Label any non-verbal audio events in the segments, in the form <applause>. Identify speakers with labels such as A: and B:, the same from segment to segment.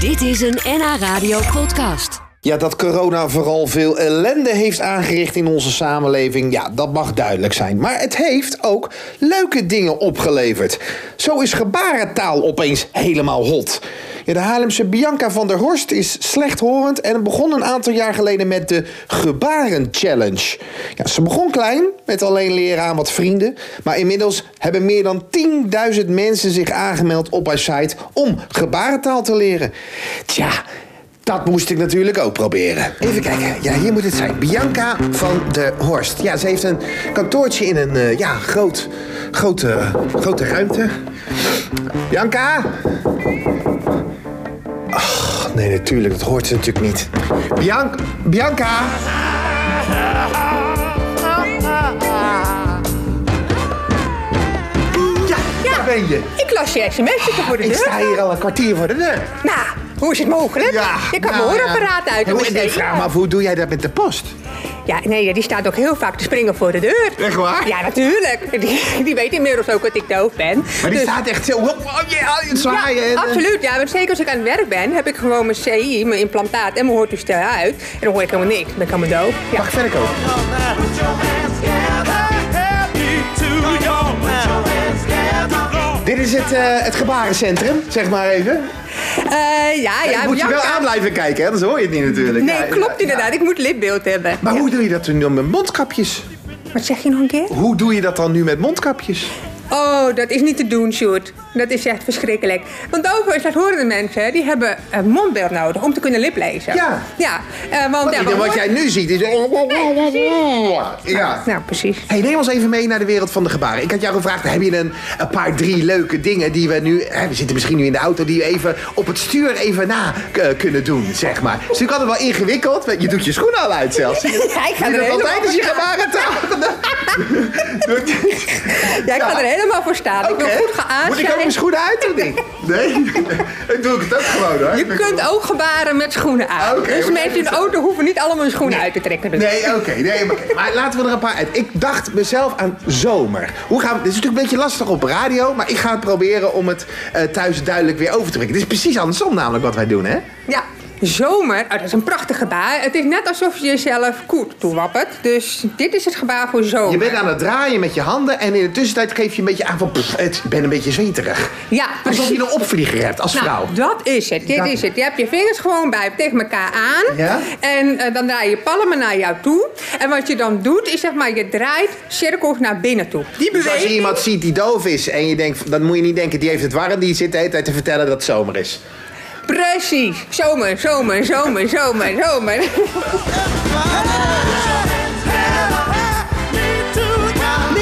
A: Dit is een NH Radio podcast.
B: Ja, dat corona vooral veel ellende heeft aangericht in onze samenleving, ja, dat mag duidelijk zijn. Maar het heeft ook leuke dingen opgeleverd. Zo is gebarentaal opeens helemaal hot. Ja, de Haarlemse Bianca van der Horst is slechthorend en begon een aantal jaar geleden met de Gebaren Challenge. Ja, ze begon klein, met alleen leren aan wat vrienden, maar inmiddels hebben meer dan 10.000 mensen zich aangemeld op haar site om gebarentaal te leren. Tja. Dat moest ik natuurlijk ook proberen. Even kijken. Ja, hier moet het zijn. Bianca van der Horst. Ja, ze heeft een kantoortje in een eh, ja, groot, grote, grote ruimte. Bianca? Ach, nee, natuurlijk. Dat hoort ze natuurlijk niet. Bian Bianca? Ja, daar ben je.
C: Ik las je sms'je voor de
B: Ik sta
C: deur.
B: hier al een kwartier voor de deur.
C: Nou, hoe is het mogelijk? je kan
B: nou
C: mijn hoorapparaat
B: ja.
C: uit
B: Hoe-
C: doen.
B: Nee, vraag maar, hoe doe jij dat met de post?
C: Ja, nee, die staat ook heel vaak te springen voor de deur.
B: Echt waar?
C: Ja, natuurlijk. Die, die weet inmiddels ook dat ik doof ben.
B: Maar die
C: Dus-
B: staat echt zo... hop, hop, ja, het
C: ja,
B: zwaaien. en- eh,
C: absoluut. Ja, want zeker als ik aan het werk ben, heb ik gewoon mijn CI, mijn implantaat en mijn hoortoestel uit. En dan hoor ik helemaal niks. Dan ben ik helemaal doof. Ja.
B: Mag ik verder komen? Dit is het, eh, het gebarencentrum, zeg maar even.
C: Eh, ja, ja.
B: je moet je wel
C: Bianca-
B: aan blijven kijken, hè? anders hoor je het niet natuurlijk. Ja,
C: Nee, klopt
B: ja, ja.
C: inderdaad. Ik moet lipbeeld hebben.
B: Maar
C: Ja.
B: hoe doe je dat nu met mondkapjes?
C: Wat zeg je nog een keer?
B: Hoe doe je dat dan nu met mondkapjes?
C: Oh, dat is niet te doen, Sjoerd. Dat is echt verschrikkelijk. Want over slechthorende mensen, die hebben een mondbeeld nodig om te kunnen liplezen.
B: Ja.
C: Ja, eh, want... ja,
B: Ieder
C: want-
B: wat jij nu ziet is... Ja.
C: Nou, precies.
B: Hey, neem ons even mee naar de wereld van de gebaren. Ik had jou gevraagd, heb je een, een paar drie leuke dingen die we nu... Hè, we zitten misschien nu in de auto, die we even op het stuur even na eh, kunnen doen, zeg maar. Het is natuurlijk altijd wel ingewikkeld, want je doet je schoenen al uit zelfs.
C: Ja, ik ga
B: Doe
C: er
B: dat
C: helemaal
B: altijd als je
C: voor staan.
B: gebarentaal
C: <laughs>
B: doet.
C: Ja, ik ga er helemaal voor staan. Ik
B: Oké.
C: wil goed
B: Moet ik ook mijn
C: geaanschijn.
B: schoenen uit of niet? Nee? <laughs> ik doe het ook gewoon hoor.
C: Je kunt ook gebaren met schoenen aan.
B: Oké,
C: dus
B: maar
C: mensen in de auto hoeven niet allemaal hun schoenen uit te trekken. Dus.
B: <laughs> Nee, oké. nee, maar, maar laten we er een paar uit. Ik dacht mezelf aan zomer. Hoe gaan we, dit is natuurlijk een beetje lastig op radio, maar ik ga het proberen om het eh, thuis duidelijk weer over te brengen. Dit is precies andersom namelijk wat wij doen, hè?
C: Ja, zomer. Oh, dat is een prachtig gebaar. Het is net alsof je jezelf koet toewappert. Dus dit is het gebaar voor zomer.
B: Je bent aan het draaien met je handen en in de tussentijd geef je een beetje aan van... Pff, het, ik ben een beetje zweterig.
C: Ja,
B: Alsof je
C: precies.
B: een opvlieger hebt als vrouw.
C: Nou, dat is het. Dit
B: Dat-
C: is het. Je hebt je vingers gewoon bij tegen elkaar aan.
B: Ja?
C: En eh, dan draai je palmen naar jou toe. En wat je dan doet, is zeg maar, je draait cirkels naar binnen toe. Die
B: Dus als je
C: beweging...
B: iemand ziet die doof is en je denkt, dan moet je niet denken, die heeft het warm, die zit de hele tijd te vertellen dat het zomer is.
C: Precies. Zomer, zomer, zomer, zomer, zomer. <laughs>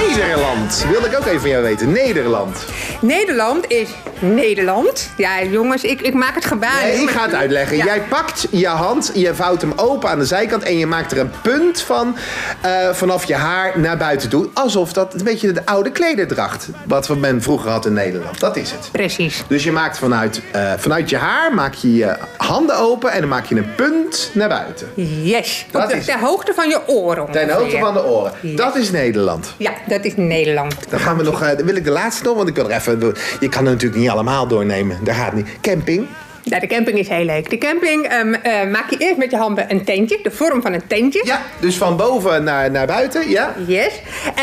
B: Nederland, wilde ik ook even van jou weten. Nederland.
C: Nederland is Nederland. Ja, jongens, ik, ik maak het gebaar.
B: Nee,
C: niet,
B: ik
C: maar-
B: ga het uitleggen.
C: Ja.
B: Jij pakt je hand, je vouwt hem open aan de zijkant en je maakt er een punt van eh, vanaf je haar naar buiten toe. Alsof dat een beetje de oude klederdracht, wat we men vroeger had in Nederland. Dat is het.
C: Precies.
B: Dus je maakt vanuit, eh, vanuit je haar maak je, je handen open en dan maak je een punt naar buiten.
C: Yes.
B: Dat
C: Op de-
B: is-
C: ter hoogte van je oren.
B: Ten
C: ongeveer.
B: hoogte van de oren. Dat is Nederland.
C: Ja, dat is Nederland.
B: Dan gaan we nog, eh, wil ik de laatste nog, want ik wil er even, je kan er natuurlijk niet allemaal doornemen. Daar gaat niet. Camping.
C: Ja, de camping is heel leuk. De camping ehm, eh, maak je eerst met je handen een tentje, de vorm van een tentje.
B: Ja, dus van boven naar, naar buiten, ja.
C: Yes.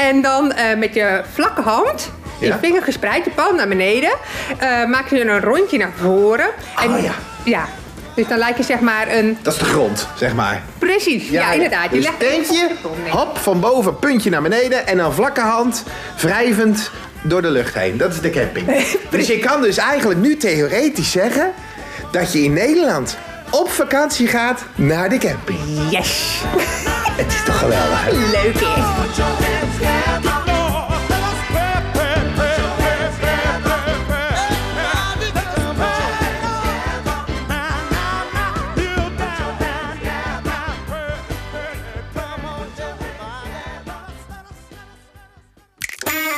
C: En dan eh, met je vlakke hand, je
B: Ja.
C: vinger gespreid, je palm naar beneden, eh, maak je een rondje naar voren. En,
B: Oh, ja.
C: Ja. Dus dan lijkt je zeg maar een...
B: Dat is de grond, zeg maar.
C: Precies, ja, inderdaad. Je
B: Dus
C: legt Oh,
B: teentje, hop, van boven, puntje naar beneden en dan vlakke hand, wrijvend door de lucht heen. Dat is de
C: <laughs>
B: camping. dus je kan dus eigenlijk nu theoretisch zeggen dat je in Nederland op vakantie gaat naar de camping.
C: Yes. <laughs>
B: Het is toch geweldig, hè?
C: Leuk hè?